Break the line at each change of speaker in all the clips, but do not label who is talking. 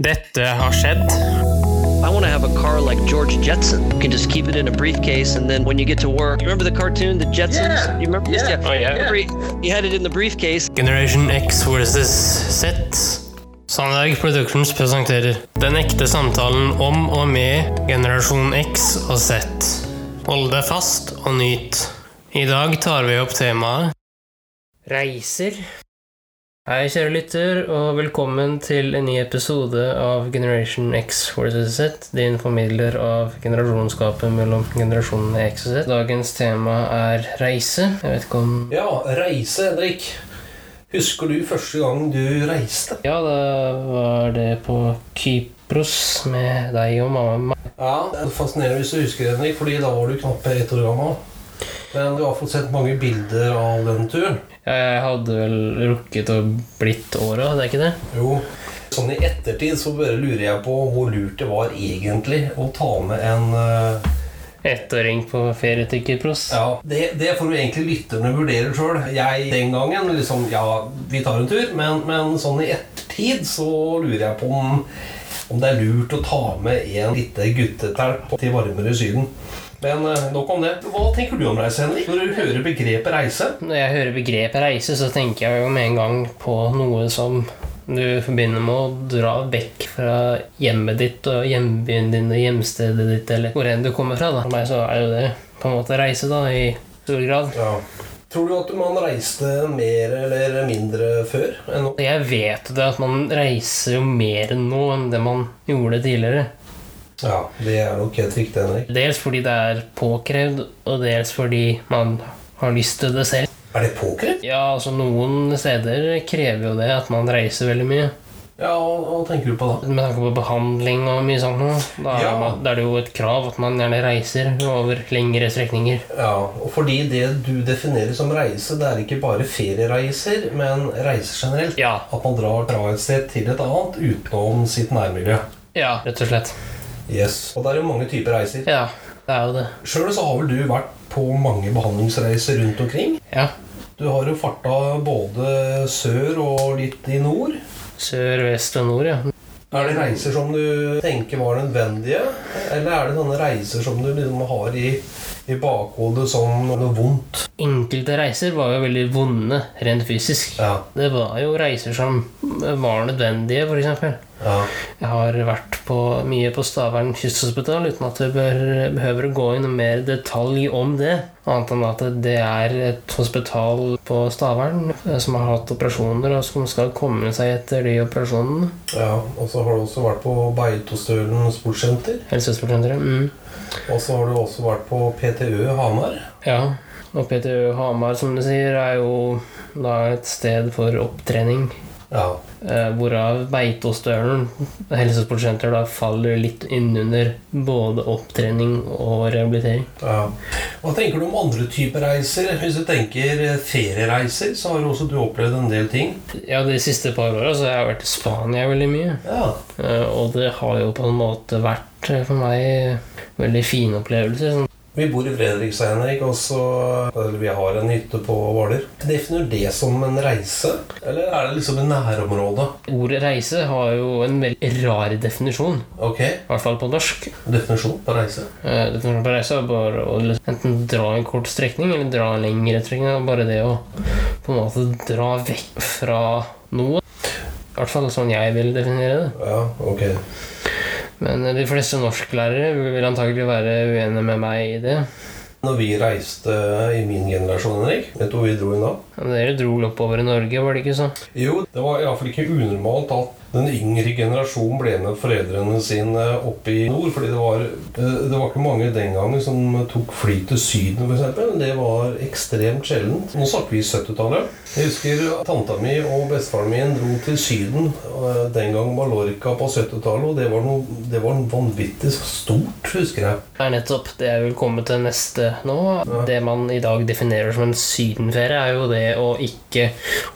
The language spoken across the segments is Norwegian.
Dette har skjedd.
I want to have a car like George Jetson. You can just keep it in a briefcase, and then when you get to work, you remember the cartoon, the Jetsons?
Yeah.
You remember?
Yeah.
Oh, yeah.
Every- you had it in the briefcase.
Generation X versus Z. Sandberg Productions presenterer Den ekte samtalen om og med generasjon X og Z. Hold deg fast og nyt. I dag tar vi opp temaet Reiser. Hei, kjære lytter, og velkommen til en ny episode av Generation X versus Z, din formidler av generasjonsgapet mellom generasjonene X og Z. Dagens tema er reise. Jeg vet ikke om
Ja, reise, Henrik. Husker du første gang du reiste?
Ja, da var det på Kypros med deg og mamma.
Ja, det er Fascinerende hvis du husker, Henrik, fordi da var du knapt ett år gammel. Men du har fått sett mange bilder av den turen.
Ja, jeg hadde vel rukket å blitt året, hadde jeg ikke det?
Jo. Sånn i ettertid så bare lurer jeg på hvor lurt det var egentlig å ta med en eh,
Ettåring på ferie til Kypros.
Ja, det, det får jo egentlig lytterne vurdere sjøl. Jeg den gangen liksom Ja, vi tar en tur, men, men sånn i ettertid så lurer jeg på om, om det er lurt å ta med en lite guttetelp til varmere Syden. Men eh, nok om det. Hva tenker du om reise, Henrik? Når du hører begrepet reise?
Når jeg hører begrepet reise, så tenker jeg jo med en gang på noe som du forbinder med å dra vekk fra hjemmet ditt og hjembyen din og hjemstedet ditt, eller hvor enn du kommer fra. da. For meg så er jo det på en måte reise, da, i stor grad.
Ja. Tror du at man reiste mer eller mindre før enn nå?
Jeg vet jo det at man reiser jo mer nå enn det man gjorde tidligere.
Ja, det er nok helt riktig, Henrik.
Dels fordi det er påkrevd, og dels fordi man har lyst til det selv.
Er det påkrevd?
Ja, altså Noen steder krever jo det at man reiser veldig mye.
Ja, hva hva tenker du på da?
Med tanke på behandling og mye sånt. noe, Da er,
Ja.
man, da er det jo et krav at man gjerne reiser over lengre strekninger.
Ja, og fordi det du definerer som reise, det er ikke bare feriereiser, men reiser generelt.
Ja.
At man drar fra et sted til et annet utenom sitt nærmiljø.
ja, Rett og slett.
Yes. Og det er jo mange typer reiser.
Ja, det er jo det.
Sjøl så har vel du vært på mange behandlingsreiser rundt omkring.
Ja.
Du har jo farta både sør og litt i nord.
Sør, vest og nord, ja.
Er det reiser som du tenker var nødvendige, eller er det sånne reiser som du liksom har i, i bakhodet som noe vondt?
Enkelte reiser var jo veldig vonde rent fysisk.
Ja.
Det var jo reiser som var nødvendige, f.eks.
ja.
Jeg har vært på, mye på Stavern kysthospital uten at vi bør, behøver å gå i noe mer detalj om det. Annet enn at det er et hospital på Stavern eh, som har hatt operasjoner, og som skal komme seg etter de operasjonene.
Ja, og så har du også vært på Beitostølen sportssenter.
Helsesøstersenteret. Mm.
Og så har du også vært på PTØ Hamar.
Ja. Og PTU Hamar, som du sier, er jo da et sted for opptrening.
Ja.
Eh, hvorav Beitostølen helsesportsenter da faller litt innunder både opptrening og rehabilitering.
ja. Hva tenker du om andre typer reiser? Hvis du tenker eh, feriereiser, så har jo også du opplevd en del ting.
Ja, de siste par åra har jeg vært i Spania veldig mye.
Ja.
Eh, Og det har jo på en måte vært eh, for meg veldig fine opplevelser. sånn.
Vi bor i Fredrikstad, Henrik, og så eller vi har en hytte på Hvaler. Definerer du det som en reise, eller er det liksom i nærområdet?
Ordet reise har jo en veldig rar definisjon,
Ok,
i hvert fall på norsk.
definisjon på reise.
Eh, Definisjonen på reise er bare å liksom enten dra en kort strekning eller dra en lengre strekning. og Bare det å på en måte dra vekk fra noe. I hvert fall sånn jeg vil definere det.
Ja, ok.
Men eh, de fleste norsklærere vil antagelig være uenige med meg i det.
Når vi reiste i min generasjon, Henrik, vet du hvor vi dro inn da?
Men Dere dro vel oppover i Norge, var det ikke sånn?
Jo, det var iallfall ikke unormalt at den yngre generasjonen ble med foreldrene sine opp i nord. fordi det var, eh, det var ikke mange den gangen som tok fly til Syden, f.eks. Det var ekstremt sjeldent. Nå snakker vi 70-tallet. Jeg husker tanta mi og bestefaren min dro til Syden. eh, Den gang Mallorca på 70-tallet, og det var, noe, det var noe vanvittig stort, husker jeg.
Det er nettopp det jeg vil komme til neste nå. Det man i dag definerer som en sydenferie, er jo det å ikke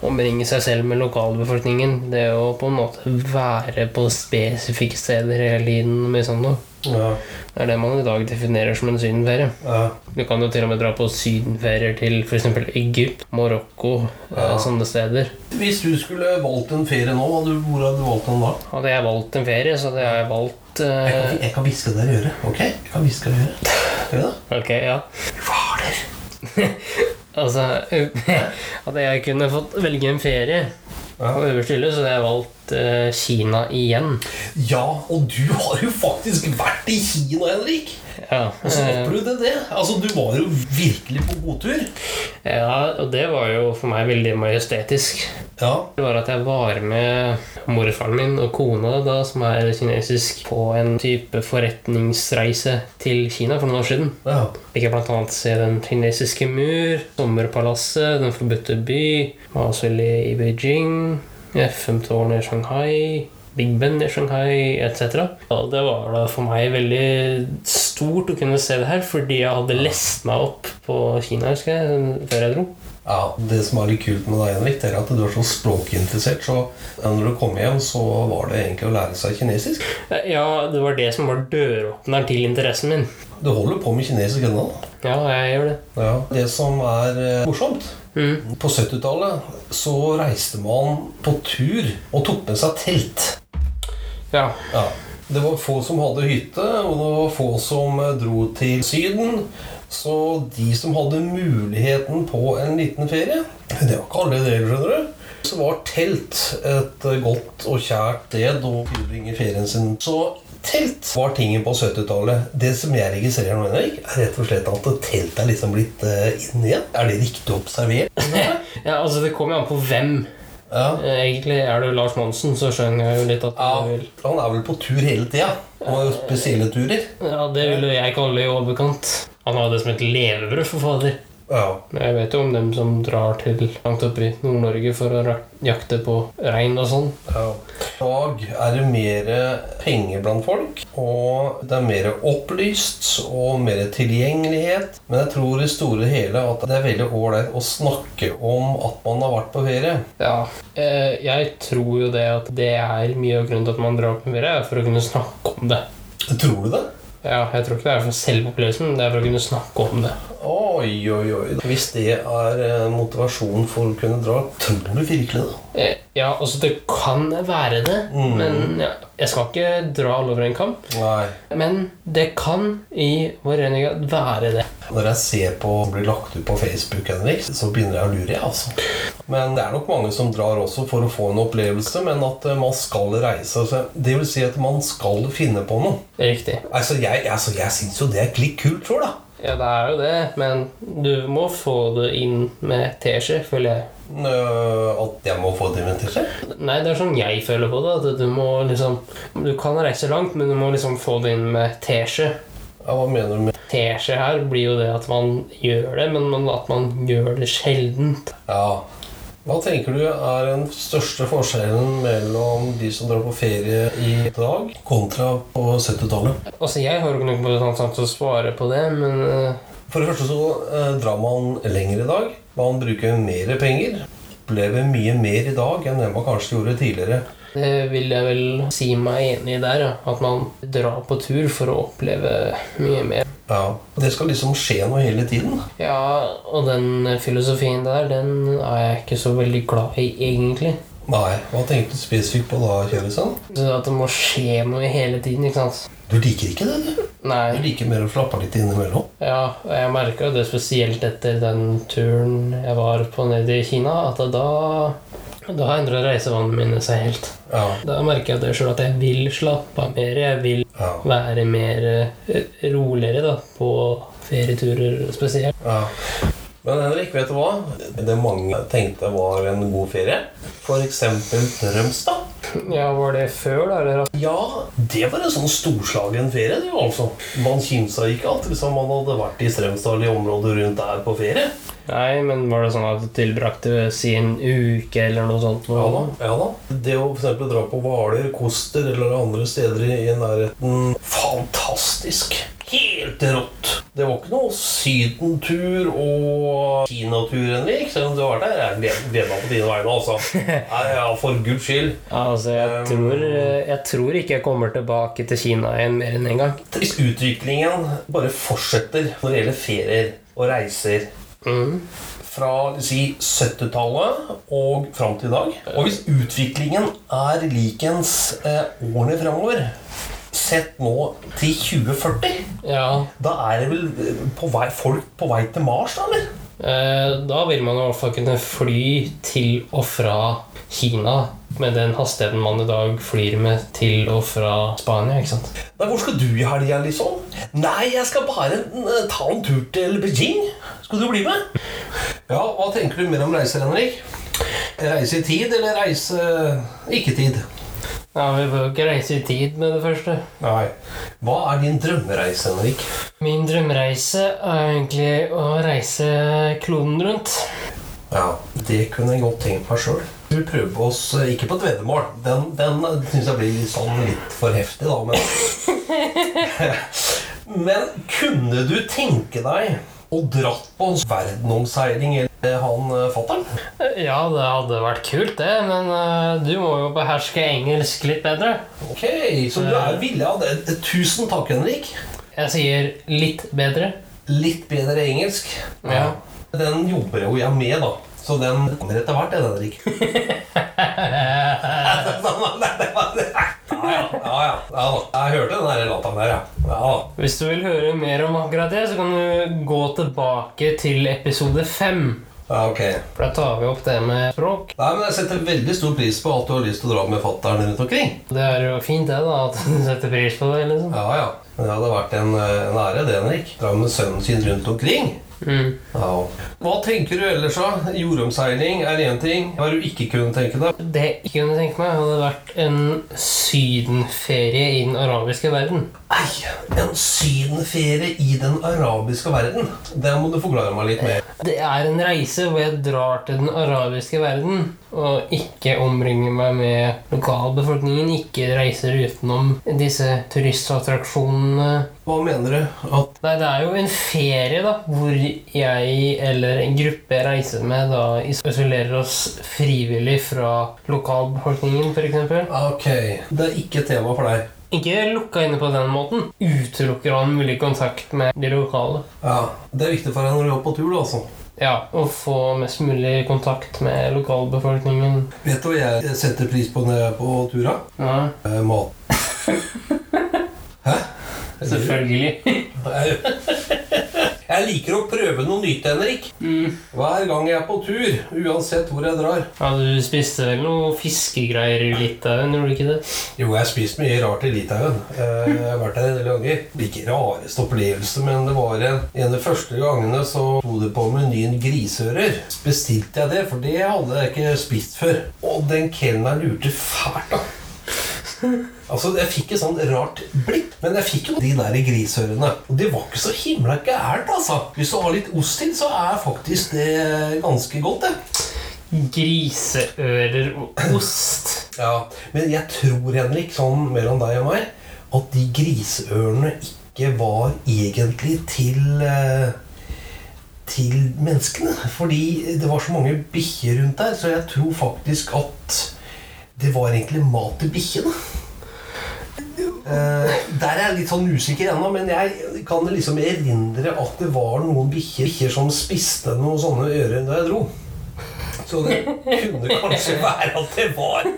omringe seg selv med lokalbefolkningen. Det å på en måte være på spesifikke steder hele tiden. Med sånn noe.
Ja,
Det er det man i dag definerer som en sydenferie.
ja,
Du kan jo til og med dra på sydenferier til f.eks. Egypt, Marokko, eh,
Ja.
sånne steder.
Hvis du skulle valgt en ferie nå, hadde du- hvor hadde du valgt den da?
Hadde jeg valgt en ferie, så hadde jeg valgt
Jeg
eh,
kan- Jeg kan hviske deg i øret. Ok? Jeg kan hviske deg i øret. Skal vi det?
Ok, ja.
Fader!
Altså, hadde jeg kunne fått velge en ferie
Ja.
på øverste hylle, så hadde jeg valgt eh, Kina igjen.
Ja, og du har jo faktisk vært i Kina, Henrik!
Ja,
Hvordan
eh,
opplevde du det? Altså, Du var jo virkelig på godtur.
ja, og det var jo for meg veldig majestetisk.
Ja.
Det var at jeg var med morfaren min og kona, da, som er kinesisk, på en type forretningsreise til Kina for noen år siden.
ja.
Fikk jeg bl.a. se Den kinesiske mur, Sommerpalasset, Den forbudte by, Mausoleet i Beijing, FM-tårnet i Shanghai, Big Ben i Shanghai etc. Og det var da for meg veldig stort å kunne se det her, fordi jeg hadde lest meg opp på Kina husker jeg, før jeg dro.
Ja, Det som er litt kult med deg, Henrik, det er at du er så språkinteressert. Så ja, når du kom hjem, så var det egentlig å lære seg kinesisk.
Eh, Ja, det var det som var døråpneren til interessen min.
Du holder på med kinesisk ennå.
Ja, jeg gjør det.
Ja. Det som er eh, morsomt
Mm.
På 70-tallet så reiste man på tur og tok med seg telt.
Ja.
Ja. Det var få som hadde hytte, og det var få som eh, dro til Syden. Så de som hadde muligheten på en liten ferie Det var ikke alle deler, skjønner du. Så var telt et eh, godt og kjært sted å tilbringe ferien sin. Så telt var tingen på 70-tallet. Det som jeg registrerer nå, Henrik, er rett og slett at telt er liksom blitt eh, inn igjen. Er det riktig observert?
ja, altså Det kommer jo an på hvem.
Ja.
Eh, Egentlig er du Lars Monsen, så skjønner jeg jo litt at
ja.
du vil
Han er vel på tur hele tida. Og har jo spesielle turer.
Ja, det ville jeg kalle i overkant. Han har det som et levebrød, for fader.
Ja.
Men Jeg vet jo om dem som drar til langt opp i Nord-Norge for å ra- jakte på rein og sånn.
Ja. I dag er det mer penger blant folk, og det er mer opplyst og mer tilgjengelighet. Men jeg tror i store hele at det er veldig ålreit å snakke om at man har vært på ferie.
Ja. eh, Jeg tror jo det at det er mye av grunnen til at man drar på ferie, er for å kunne snakke om det.
Tror du det?
Ja, Jeg tror ikke det er for selve opplevelsen, det er for å kunne snakke om det.
Oi, oi, oi. Hvis det er eh, motivasjon for å kunne dra, tror du virkelig det?
Eh, Ja, altså, det kan være det, men ja, jeg skal ikke dra alle over en kamp.
Nei.
Men det kan i vår rene grad være det.
Når jeg ser på det blir lagt ut på Facebook, Henrik, så begynner jeg å lure, jeg, altså. Men det er nok mange som drar også for å få en opplevelse, men at eh, man skal reise. Altså, det vil si at man skal finne på noe.
Riktig.
Altså, Jeg, altså, jeg syns jo det er litt kult sjøl, da.
Ja, det er jo det, men du må få det inn med teskje, føler jeg.
Nø, øh, At jeg må få det invitert til.
Nei, det er sånn jeg føler på det. At du må liksom Du kan reise langt, men du må liksom få det inn med teskje.
Ja, hva mener du med
Teskje her blir jo det at man gjør det, men man- at man gjør det sjeldent.
Ja. Hva tenker du er den største forskjellen mellom de som drar på ferie i dag, kontra på 70-tallet?
Altså, jeg har jo ikke noe kompetanse til å svare på det, men eh,
For det første så eh, drar man lenger i dag. Man bruker mer penger. Opplever mye mer i dag enn det man kanskje gjorde tidligere.
det vil jeg vel si meg enig i der, ja. At man drar på tur for å oppleve mye mer.
Ja, og Det skal liksom skje noe hele tiden.
Ja, og den filosofien der, den er jeg ikke så veldig glad i, egentlig.
Nei, Hva tenkte du spesifikt på da, Kjølesen?
Så at det må skje noe hele tiden, ikke sant?
Du liker ikke det, du. Du
Nei.
liker mer å slappe av litt innimellom.
Ja, og jeg merka det spesielt etter den turen jeg var på nede i Kina, at da da endra reisevanene mine seg helt.
Ja.
Da merker jeg det sjøl at jeg vil slappe av mer. Jeg vil
Ja.
være mer eh, roligere da, på ferieturer spesielt.
ja. Men Henrik, vet du hva? Det mange tenkte var en god ferie, f.eks. Drømstad
Ja, Var det før, da? Eller?
Ja, det var en sånn storslagen ferie, det jo altså. Man kimsa ikke at liksom, man hadde vært i Strømsdal i området rundt der på ferie.
Nei, men var det sånn at du tilbrakte sin uke eller noe sånt? nå?
ja da. Det å for eksempel dra på Hvaler, Koster eller andre steder i i nærheten Fantastisk! helt rått. Det var ikke noe sydentur og kinatur, Henrik. Selv om du var der. Jeg gled- gleder meg på dine vegne, altså. Nei, ja, for guds skyld.
Altså, jeg tror, jeg tror ikke jeg kommer tilbake til Kina igjen mer enn én en gang.
Utviklingen bare fortsetter når det gjelder ferier og reiser.
Mm.
fra si, 70-tallet og fram til i dag. Og hvis utviklingen er likens eh, årene fremover, sett nå til 2040,
Ja,
da er det vel eh, på vei, folk på vei til Mars, da, eller?
eh, da vil man i hvert fall kunne fly til og fra Kina med den hastigheten man i dag flyr med til og fra Spania, ikke sant?
Nei, hvor skal du i helga, liksom? Nei, jeg skal bare eh, ta en tur til Beijing. Skal du bli med? Ja, hva tenker du mer om reiser, Henrik? Reise i tid, eller reise ikke-tid?
Ja, vi bør jo ikke reise i tid med det første.
Nei. Hva er din drømmereise, Henrik?
Min drømmereise er egentlig å reise kloden rundt.
Ja, det kunne jeg godt tenkt meg sjøl. Vi prøver oss eh, ikke på et veddemål. Den, den syns jeg blir litt, sånn, litt for heftig, da. Men, men kunne du tenke deg å dratt på en verdenomseiling eller han eh, fatteren?
Ja, det hadde vært kult, det, men eh, du må jo beherske engelsk litt bedre.
Ok, så du er villig av det. Eh, Tusen takk, Henrik.
Jeg sier litt bedre.
Litt bedre engelsk.
Ja.
Den jobber jo jeg med, da. Så den kommer etter hvert, den, Henrik. Ja, ja. ja, ja. ja da. Jeg hørte den der låta der, ja. ja da.
Hvis du vil høre mer om akkurat det, så kan du gå tilbake til episode fem.
ja, ok.
For da tar vi opp det med språk.
Nei, men Jeg setter veldig stor pris på at du har lyst til å dra med fatter'n rundt omkring.
Det er jo fint, det, da, at du setter pris på det, liksom.
Ja, ja. Men det hadde vært en, eh, en ære, det, Henrik. Dra med sønnen sin rundt omkring.
Mm.
Ja. Hva tenker du ellers, da? Jordomseiling er én ting. Hva er det du ikke kunne tenke deg?
Det jeg ikke kunne tenkt meg, hadde vært en sydenferie i den arabiske verden.
Ei, en sydenferie i den arabiske verden. Det må du forklare meg litt mer.
Det er en reise hvor jeg drar til den arabiske verden og ikke omringer meg med lokalbefolkningen, ikke reiser utenom disse turistattraksjonene.
Hva mener du? At
Nei, det er jo en ferie da, hvor jeg eller en gruppe jeg reiser med da isolerer oss frivillig fra lokalbefolkningen f.eks.
Ok, det er ikke et tema for deg.
Ikke lukka inne på den måten. Utelukker all mulig kontakt med de lokale.
Ja, Det er viktig for deg når du er på tur, da, altså.
Ja, og få mest mulig kontakt med lokalbefolkningen.
Vet du hva jeg setter pris på når jeg er på tur? da?
Ja.
Eh, mat.
Selvfølgelig.
Jeg liker å prøve noe nytt, Henrik. Hver gang jeg er på tur, uansett hvor jeg drar.
Ja, Du spiste vel noe fiskegreier i Litauen, gjorde du ikke det?
Jo, jeg har spist mye rart i Litauen. Eh, Jeg har vært der en del ganger. Det blir ikke rareste opplevelse, men det var en, en av de første gangene så sto det på menyen griseører. Så bestilte jeg det, for det hadde jeg ikke spist før. Og den kelneren lurte fælt, da. Altså, Jeg fikk et sånt rart blikk, men jeg fikk jo de der grisørene. Og det var ikke så himla gærent, altså. Hvis du har litt ost til, så er faktisk det ganske godt, det.
Griseører og ost.
Ja, men jeg tror, Henrik, sånn mellom deg og meg, at de griseørene ikke var egentlig til eh, til menneskene. Fordi det var så mange bikkjer rundt der, så jeg tror faktisk at det var egentlig mat til bikkjene. Eh, der er jeg litt sånn usikker ennå, men jeg kan liksom erindre at det var noen bikkjer bikkjer som spiste noen sånne ører da jeg dro. Så det kunne kanskje være at det var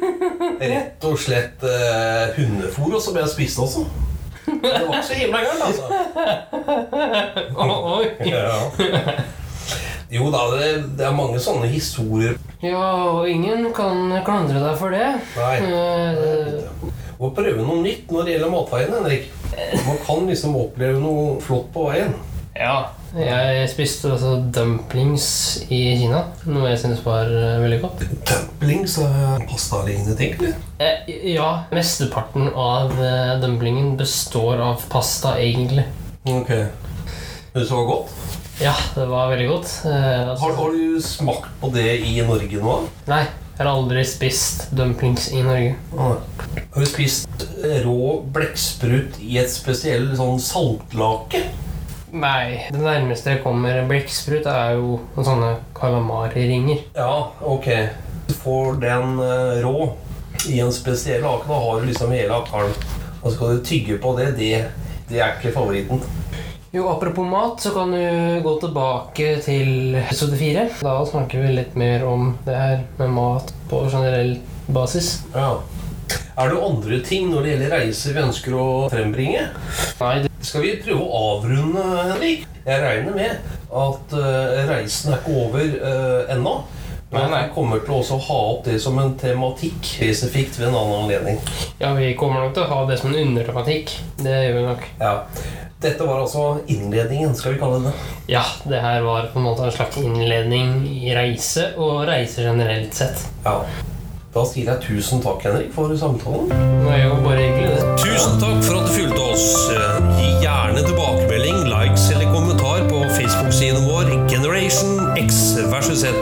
rett og slett eh, hundefôr som jeg spiste også. Det var ikke så himla gærent, altså.
Oh, oi.
Ja. Jo da, det, det er mange sånne historier.
Ja, og ingen kan klandre deg for det.
Nei.
Eh,
Må prøve noe nytt når det gjelder matveien, Henrik. Man kan liksom oppleve noe flott på veien.
ja. Jeg spiste altså dumplings i Kina, noe jeg syns var eh, veldig godt.
Dumplings og pastalignende ting. eller?
Eh, ja, mesteparten av eh, dumplingen består av pasta, egentlig.
Ok. Men så godt.
Ja, det var veldig godt. Eh, altså-
Har, har du smakt på det i Norge nå?
Nei, Jeg har aldri spist dumplings i Norge.
Har du spist rå blekksprut i et spesielt sånn saltlake?
Nei, det nærmeste jeg kommer blekksprut, er jo noen sånne kalamari-ringer.
Ja, ok. Du får den eh, rå i en spesiell lake. Da har du liksom hele akkaren. Og skal du tygge på det, det, det er ikke favoritten.
Jo, apropos mat, så kan du gå tilbake til episode fire. Da snakker vi litt mer om det her med mat på generell basis.
Ja. Er det andre ting når det gjelder reiser vi ønsker å frembringe?
Nei, det,
Skal vi prøve å avrunde, Henrik? Jeg regner med at eh, reisen er ikke over eh, ennå. Men
Nei, nei.
jeg kommer til å også ha opp det som en tematikk spesifikt ved en annen anledning.
ja, vi kommer nok til å ha det som en undertematikk. Det gjør vi nok.
Ja. Dette var altså innledningen, skal vi kalle det.
Ja, det her var på en måte en slags innledning i reise, og reise generelt sett.
Ja. Da sier jeg tusen takk, Henrik, for samtalen.
Nå er jo bare hyggelig, det.
Tusen takk for at du fulgte oss. Gi gjerne tilbakemelding, likes eller kommentar på Facebook-siden vår Generation X versus Z.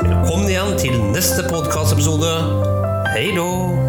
Velkommen igjen til neste podkastepisode. Hei då!